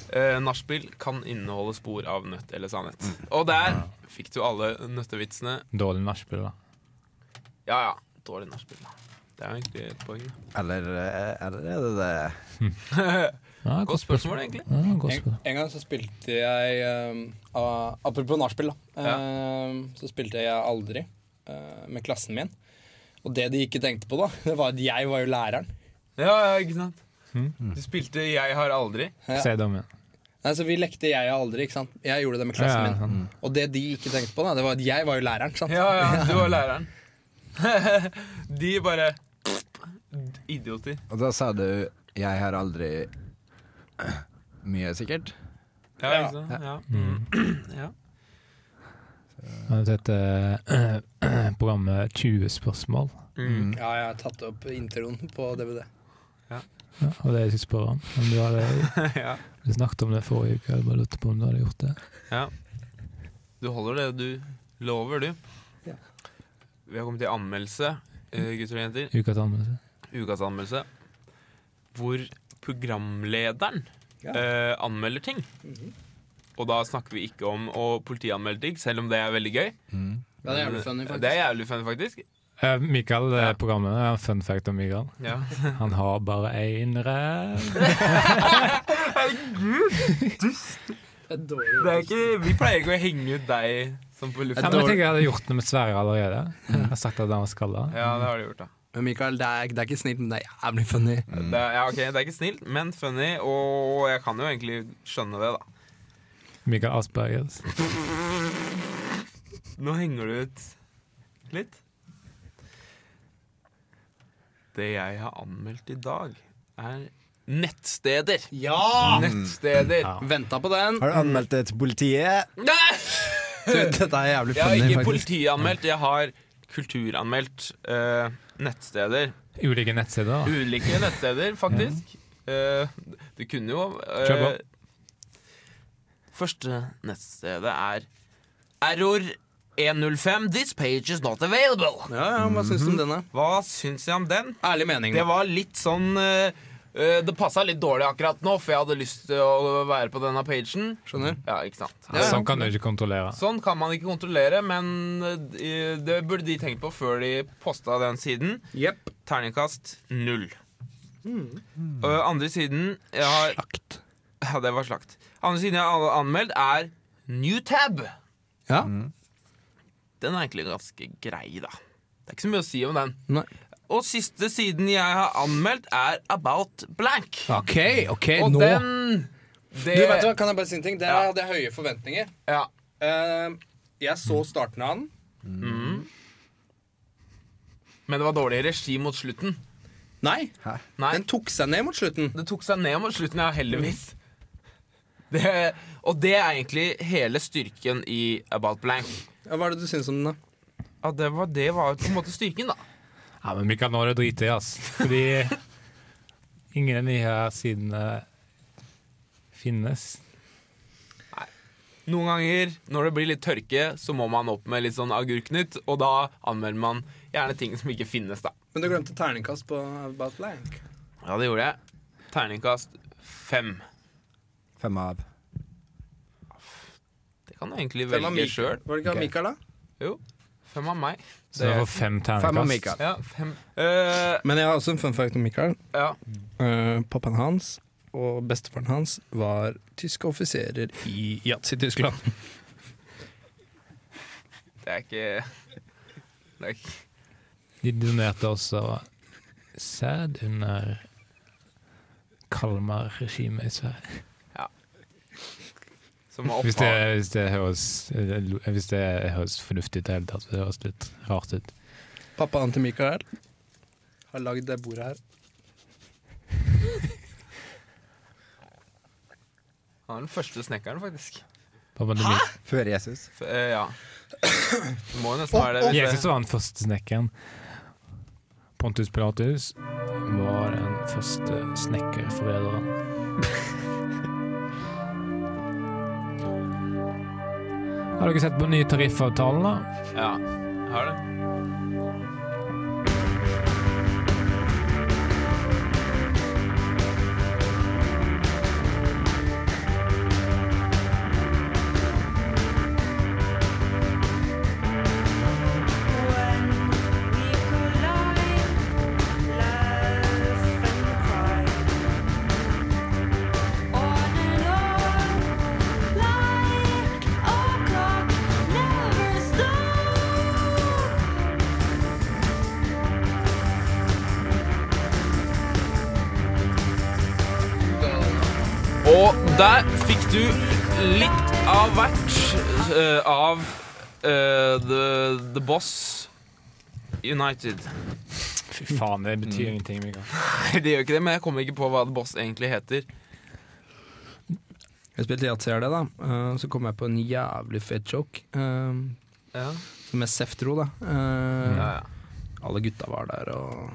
Speaker 2: eh, nachspiel kan inneholde spor av nøtt eller sannhet. Og der fikk du alle nøttevitsene.
Speaker 1: Dårlig nachspiel, da.
Speaker 2: Ja ja, dårlig nachspiel. da. Det er jo egentlig et poeng. da.
Speaker 4: Eller, eh, eller er det det?
Speaker 1: Ja,
Speaker 2: Godt spørsmål, egentlig.
Speaker 1: Ja, godt
Speaker 3: En,
Speaker 1: spørsmål.
Speaker 3: en gang så spilte jeg ehm, ah, Apropos nachspiel, da. ehm, så spilte jeg aldri eh, med klassen min. Og det de ikke tenkte på, da, det var at jeg var jo læreren.
Speaker 2: Ja, ja, ikke sant?
Speaker 3: Hmm.
Speaker 2: Du spilte 'Jeg har aldri'.
Speaker 3: Ja.
Speaker 1: Si det om igjen.
Speaker 3: Nei, så Vi lekte jeg aldri. ikke sant? Jeg gjorde det med
Speaker 1: Ja,
Speaker 3: klassen
Speaker 1: ja,
Speaker 3: min. Og det de ikke tenkte på, da, det var at jeg var jo læreren. sant?
Speaker 2: Ja, ja, du var læreren. De bare Idioter.
Speaker 4: Og da sa du 'jeg har aldri mye', sikkert?
Speaker 2: Ja,
Speaker 3: Ja.
Speaker 2: ikke sant? Ja. ja.
Speaker 1: Har du sett eh, programmet 20 spørsmål?
Speaker 2: Mm.
Speaker 3: Ja, jeg har tatt opp introen på DVD.
Speaker 1: Ja, og det jeg skulle spørre om. Om du hadde
Speaker 2: ja.
Speaker 1: vi snakket om det forrige uke, jeg bare lurte på om du hadde gjort det.
Speaker 2: Ja. Du holder det du lover, du.
Speaker 3: Ja.
Speaker 2: Vi har kommet til anmeldelse, eh, gutter og jenter.
Speaker 1: Uka til anmeldelse.
Speaker 2: Ukas anmeldelse. Hvor programlederen
Speaker 3: Ja. Mhm.
Speaker 2: eh, anmelder ting. Og da snakker vi ikke om å politianmelde ting, selv om det er veldig gøy.
Speaker 3: Ja, det er jævlig
Speaker 2: Det
Speaker 3: funny,
Speaker 2: er
Speaker 3: faktisk.
Speaker 2: jævlig funny, faktisk.
Speaker 1: Eh, Mikael,
Speaker 2: Ja.
Speaker 1: ja. programmet er en fun fact om Mikael.
Speaker 2: Ja.
Speaker 1: Han har bare én ræv.
Speaker 3: Det er dårlig.
Speaker 2: Det er ikke, vi pleier ikke å henge ut deg som på
Speaker 1: Ja,
Speaker 2: lufta.
Speaker 1: men jeg tenker jeg hadde gjort det med Sverre allerede. Jeg har sagt at han var skalla.
Speaker 2: Ja, det har du gjort, da.
Speaker 3: Men Mikael, det er, det er ikke snilt, men det er jævlig funny.
Speaker 2: Det er, ja, ok, det er ikke snilt, men funny, og jeg kan jo egentlig skjønne det, da.
Speaker 1: Mikael Aspergers.
Speaker 2: Nå henger du ut litt. Det jeg har anmeldt i dag, er nettsteder.
Speaker 3: Ja!
Speaker 2: Nettsteder.
Speaker 1: Ja.
Speaker 3: Venta på den.
Speaker 4: Har du anmeldt det til politiet?
Speaker 2: Nei!
Speaker 3: Du, dette er jævlig
Speaker 2: Jeg har
Speaker 3: funny,
Speaker 2: ikke
Speaker 3: faktisk.
Speaker 2: politianmeldt, jeg har kulturanmeldt eh, nettsteder.
Speaker 1: Ulike nettsider. da.
Speaker 2: Ulike nettsteder, faktisk. Eh, du kunne jo eh,
Speaker 1: Kjør på.
Speaker 2: Første nettstedet er Error 105. This page is not available.
Speaker 3: Ja, ja, Hva syns du om den, da?
Speaker 2: Hva syns jeg om den?
Speaker 3: Mhm. Ærlig mening.
Speaker 2: Det var litt sånn eh, eh, Det passa litt dårlig akkurat nå, for jeg hadde lyst til å være på denne pagen.
Speaker 3: Skjønner?
Speaker 2: Ja, ikke sant?
Speaker 3: Ja, ja.
Speaker 1: Sånn kan du ikke kontrollere.
Speaker 2: Sånn kan man ikke kontrollere, men eh, det burde de tenkt på før de posta den siden.
Speaker 3: Jepp.
Speaker 2: Terningkast null.
Speaker 3: Hmm.
Speaker 2: Og andre siden jeg har Slakt. Ja, det var slakt. Andre siden jeg har anmeldt, er Newtab.
Speaker 3: Ja.
Speaker 2: Den er egentlig ganske grei, da. Det er ikke så mye å si om den.
Speaker 3: Nei.
Speaker 2: Og siste siden jeg har anmeldt, er About Blank.
Speaker 3: OK, OK,
Speaker 2: Og
Speaker 3: nå
Speaker 2: den det,
Speaker 3: Du, vet du hva, Kan jeg bare si en ting? Der
Speaker 2: Ja.
Speaker 3: hadde jeg høye forventninger.
Speaker 2: Ja.
Speaker 3: Eh, jeg så starten av den.
Speaker 2: Men det var dårlig regi mot slutten.
Speaker 3: Nei,
Speaker 2: Nei,
Speaker 3: den tok seg ned mot slutten.
Speaker 2: det tok seg ned mot slutten, ja, heldigvis.
Speaker 3: Hmm.
Speaker 2: Det, og det er egentlig hele styrken i About Blank.
Speaker 3: Ja, Hva er det du syns om den, da?
Speaker 2: Ja, det var, det var på en måte styrken, da.
Speaker 1: Ja, men Mikael, nå er det driti, ass. Fordi ingen av de her sidene finnes.
Speaker 2: Noen ganger når det blir litt tørke, så må man opp med litt sånn agurknytt, og da anmelder man gjerne ting som ikke finnes, da.
Speaker 3: Men du glemte terningkast på About Blank.
Speaker 2: Ja, det gjorde jeg. Terningkast fem.
Speaker 4: Fem av.
Speaker 2: Det kan du egentlig
Speaker 3: Hvem var
Speaker 2: velge
Speaker 3: Mik-
Speaker 2: sjøl.
Speaker 3: Var det ikke
Speaker 4: Ok.
Speaker 3: okay. Mikael, da?
Speaker 2: Jo. Fem av meg.
Speaker 1: Så det får fem
Speaker 4: Fem av
Speaker 1: terningkast.
Speaker 4: Mikael.
Speaker 2: Ja, fem. Eh,
Speaker 3: Men jeg har også en fun fact om Mikael.
Speaker 2: ja.
Speaker 3: Eh, pappaen hans og bestefaren hans var tyske offiserer i Yatzy-Tyskland.
Speaker 2: Det er ikke Det er ikke
Speaker 1: De donerte også sæd under Kalmar-regimet i Sverige.
Speaker 2: Som å
Speaker 1: Hvis det,
Speaker 2: oppha-
Speaker 1: hvis, det høres, hvis det høres fornuftig ut i det hele tatt. Det høres litt rart ut.
Speaker 3: Pappaen til Mikael har lagd det bordet her.
Speaker 2: Han er den første snekkeren, faktisk.
Speaker 1: Hva var det min-
Speaker 4: Før Jesus.
Speaker 2: F- eh, ja. Det må jo nesten være det. hvis
Speaker 1: Jesus
Speaker 2: det-
Speaker 1: var den første snekkeren. Pontus Pilatus var den første snekkerforedleren. Har dere sett på den nye tariffavtalen, da?
Speaker 2: Ja, jeg har det. Og der fikk du litt av hvert eh, av eh, the, the Boss United.
Speaker 1: Fy faen, det betyr ingenting. Mikael.
Speaker 2: Nei, det gjør ikke det, men jeg kommer ikke på hva The Boss egentlig heter.
Speaker 3: Jeg spilte Yatzy da, eh, så kom jeg på en jævlig fet joke. eh,
Speaker 2: Ja.
Speaker 3: Som er Seftro, da. Eh,
Speaker 2: Ja, ja.
Speaker 3: Alle gutta var der og,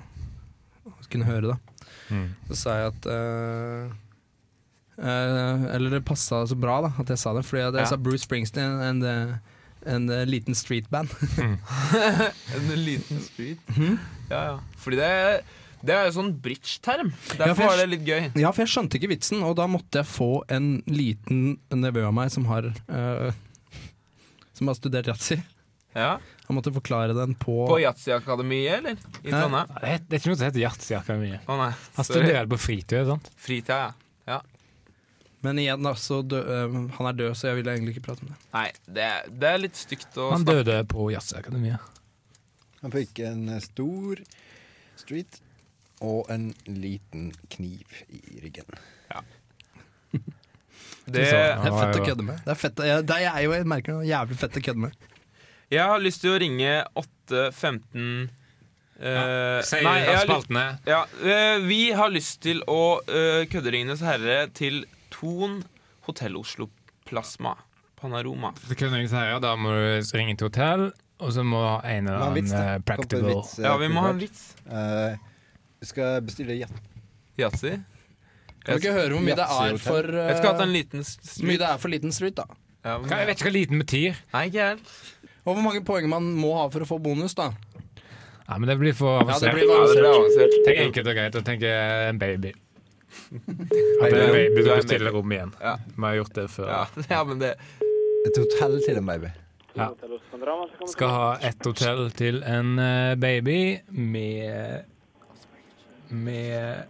Speaker 3: og kunne høre, da.
Speaker 4: Mm.
Speaker 3: Så sa jeg at eh, eh, Eller det passa så bra da at jeg sa det, fordi at jeg
Speaker 2: Ja.
Speaker 3: sa Bruce Springsteen and, eh, and a liten street band.
Speaker 2: En liten street. Ja, ja. Fordi det, det er jo sånn bridge-term.
Speaker 3: Ja,
Speaker 2: Derfor
Speaker 3: for jeg-
Speaker 2: var det litt gøy.
Speaker 3: ja, for jeg skjønte ikke vitsen, og da måtte jeg få en liten nevø av meg som har eh, Som har studert yatzy.
Speaker 2: Ja.
Speaker 3: Han måtte forklare den på,
Speaker 2: På Yatzy-akademiet, eller? I
Speaker 3: Ja.
Speaker 2: Trondheim?
Speaker 1: Det er det er ikke noe som heter Altså, Yatzy-akademiet.
Speaker 2: Å nei.
Speaker 1: Han
Speaker 2: Sorry.
Speaker 1: studerer på fritid. sant?
Speaker 2: Fritida, ja. ja.
Speaker 3: Men igjen, da, så dø, eh, han er død, så jeg ville egentlig ikke prate om det.
Speaker 2: Nei, det, er- det er litt stygt å
Speaker 1: Han
Speaker 2: snakke
Speaker 1: døde på Yatzy-akademiet.
Speaker 6: Han fikk en eh, stor street og en liten kniv i ryggen.
Speaker 2: det,
Speaker 3: Det er
Speaker 1: Ja,
Speaker 3: fett å
Speaker 1: ja, ja.
Speaker 3: kødde med. Det er, fett, å- jeg, det er jo, jeg merker det, jævlig fett å kødde med.
Speaker 2: Jeg har lyst til å ringe 815 eh, Nei, jeg har lyst,
Speaker 1: spaltene.
Speaker 2: ja, eh, vi har lyst til å eh, kødde Ringenes herre til Thon Hotell Oslo Plasma. Panorama.
Speaker 1: Det kunne jeg ikke si, ja, da må du ringe til hotell, og så må en eller
Speaker 6: Hva er
Speaker 1: annen
Speaker 6: vits,
Speaker 1: eh,
Speaker 6: da? Kom på en
Speaker 1: practical
Speaker 6: vits, eh,
Speaker 2: Ja, vi må ha en
Speaker 6: fort.
Speaker 2: vits.
Speaker 6: Eh, Vi skal bestille jet.
Speaker 2: Yatzy?
Speaker 3: Kan du ikke høre hvor mye det er
Speaker 6: Yatzy-hotell.
Speaker 3: for
Speaker 2: Jeg skulle hatt en
Speaker 3: eh,
Speaker 2: liten s-
Speaker 3: hvor mye det er for liten street, da?
Speaker 2: Ja,
Speaker 1: Hva- Jeg vet ikke hva liten betyr.
Speaker 2: Nei, ikke jeg.
Speaker 3: Og hvor mange poeng man må ha for å få bonus, da?
Speaker 1: Ja, men det blir for avansert.
Speaker 3: blir
Speaker 2: Ja, det ble avansert.
Speaker 1: Tenk enkelt og greit, og tenk eh, en baby. At det er en baby
Speaker 2: Du
Speaker 1: du
Speaker 2: er en
Speaker 1: bestiller rom igjen.
Speaker 2: Ja.
Speaker 1: Vi har gjort det før.
Speaker 2: Ja, ja, men det
Speaker 6: Et hotell til en baby.
Speaker 1: Skal ha ett hotell til en eh, baby med Med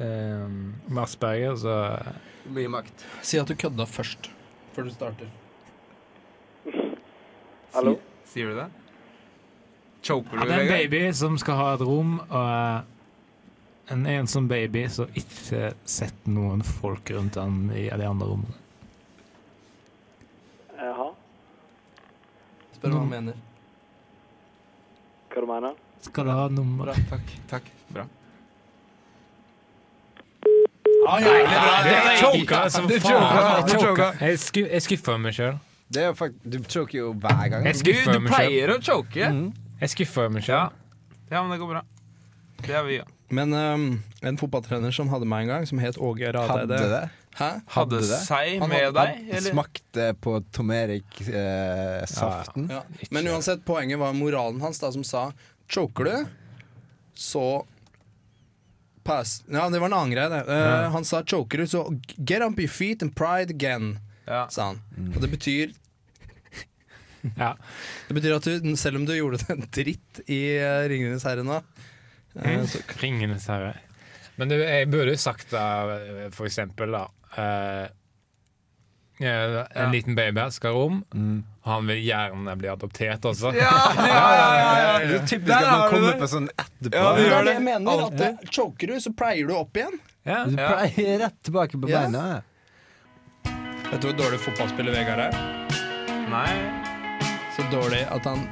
Speaker 1: eh, Med Asperger, så
Speaker 2: Mye makt.
Speaker 3: Si at du kødda først. Før du starter.
Speaker 2: Hallo? Sier du det? Choker
Speaker 1: Ja,
Speaker 2: du,
Speaker 1: det er en baby som skal ha et rom, og eh, en ensom baby som ikke sett noen folk rundt han i de andre rommene.
Speaker 9: Jaha,
Speaker 3: Spør hva han mener.
Speaker 9: hva du mener?
Speaker 1: Skal du ha nummer?
Speaker 2: Takk. Takk. Bra.
Speaker 1: Jeg choka som faen!
Speaker 4: du
Speaker 1: Jeg choka.
Speaker 4: choka.
Speaker 1: Jeg sku- Jeg skuffa meg sjøl.
Speaker 4: Det er jo fakt du choker jo hver gang.
Speaker 1: Jeg
Speaker 2: Du,
Speaker 1: skuffa
Speaker 2: du
Speaker 1: meg sjøl.
Speaker 2: pleier å choke.
Speaker 1: Jeg skuffa meg sjøl.
Speaker 2: Ja, men det går bra. Det er vi, ja.
Speaker 3: Men ehm, en fotballtrener som hadde meg en gang, som het Åge
Speaker 4: Hadde
Speaker 3: Radeide
Speaker 4: det?
Speaker 3: Hæ?
Speaker 2: Hadde
Speaker 4: det?
Speaker 2: seg
Speaker 3: Han
Speaker 2: med
Speaker 4: Had-
Speaker 2: deg, eller?
Speaker 4: Smakte på eh, tomerik-saften.
Speaker 3: Ja. Men uansett, poenget var moralen hans, da, som sa choker du, så pass. Ja, det var en annen greie, det. Eh, Han sa choker du, så get up your feet and pride again,
Speaker 2: Ja.
Speaker 3: sa han. Og det betyr
Speaker 1: Ja.
Speaker 3: Det betyr at du, selv om du gjorde det en dritt i eh, Ringenes herre nå eh, så,
Speaker 1: Ringenes herre. Mm. Men det, jeg burde jo sagt da, for eksempel, da eh, ja, En liten baby her skal ha rom. Han vil gjerne bli adoptert også.
Speaker 4: Det er typisk at man kommer på sånn etterpå.
Speaker 2: Ja, det
Speaker 3: Det
Speaker 2: gjør
Speaker 3: er det jeg mener. At det, choker du, så pleier du opp igjen.
Speaker 1: Ja.
Speaker 4: Du pleier rett tilbake på
Speaker 3: Ja.
Speaker 4: beina.
Speaker 3: Vet du hvor dårlig fotballspiller Vegard er?
Speaker 2: Nei.
Speaker 3: Så dårlig at han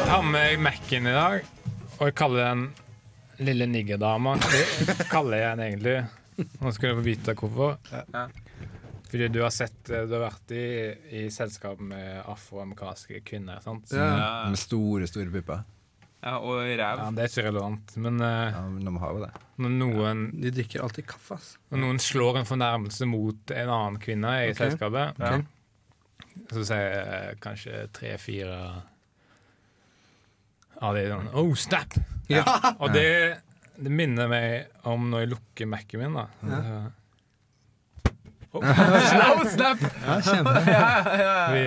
Speaker 1: Jeg har med Mac-en i dag, og jeg kaller den lille niggerdama. Det kaller jeg den egentlig. Nå skal dere få vite hvorfor. Fordi du har sett eh, Du har vært i, i selskap med afroamerikanske kvinner, sant?
Speaker 2: Ja.
Speaker 4: Med store, store pupper.
Speaker 2: Ja, og ræv.
Speaker 1: Ja, det er ikke relevant, men eh,
Speaker 4: Ja, men de har jo det.
Speaker 1: når, noen,
Speaker 3: De drikker alltid kaffe, ass.
Speaker 1: når noen slår en fornærmelse mot en annen kvinne i selskapet,
Speaker 2: Ja.
Speaker 1: så sier eh, kanskje tre-fire av de sånn Oh, snap! Og det, det minner meg om når jeg lukker Mac-en min. da. Så- Oh, snap, snap! Vi,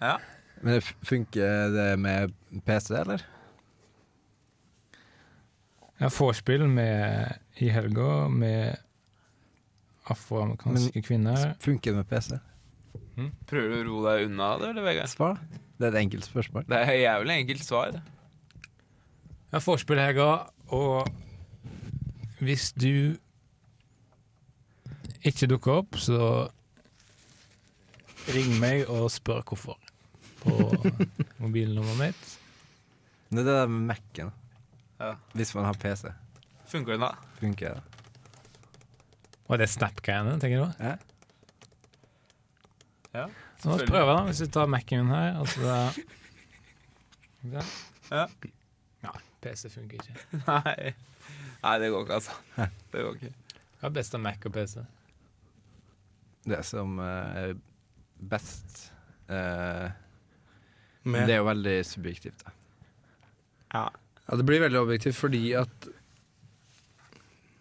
Speaker 4: Men det f- funker det med PC, eller?
Speaker 1: Jeg har vorspiel med i helga med afroamerikanske kvinner.
Speaker 4: Funker det med PC?
Speaker 2: Prøver du å roe deg unna det, eller, Vegard?
Speaker 4: Svar. Det er et enkelt spørsmål.
Speaker 2: Det er et jævlig enkelt svar.
Speaker 1: Jeg har vorspiel i helga, og hvis du ikke dukker opp, så ring meg og spør hvorfor på mobilnummeret mitt.
Speaker 4: Men det er det der med Mac-en.
Speaker 2: Ja.
Speaker 4: Hvis man har PC,
Speaker 2: Funker den, da?
Speaker 4: funker det.
Speaker 1: Var det Snap-greiene, tenker du?
Speaker 4: Ja.
Speaker 2: Ja,
Speaker 1: Så la oss
Speaker 2: selvfølgelig.
Speaker 1: prøve, da, hvis vi tar Mac-en min her. Altså, da- Ikke sant?
Speaker 2: Ja.
Speaker 1: ja. PC funker ikke.
Speaker 2: Nei. Nei, det går ikke, altså. Det går ikke.
Speaker 1: Hva er best av Mac og PC?
Speaker 4: Det som eh, er best eh,
Speaker 3: Med.
Speaker 4: Det
Speaker 3: Det.
Speaker 4: er jo veldig subjektivt, da.
Speaker 2: Ja.
Speaker 3: Ja, det blir veldig objektivt fordi at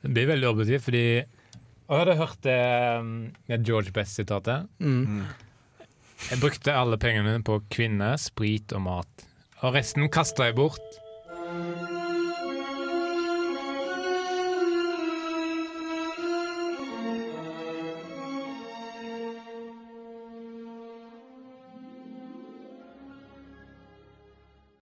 Speaker 1: Det blir veldig objektivt, fordi Jeg hadde hørt det, um, det George Best-sitatet.
Speaker 3: mm.
Speaker 1: Jeg brukte alle pengene mine på kvinner, sprit og mat. Og resten kasta jeg bort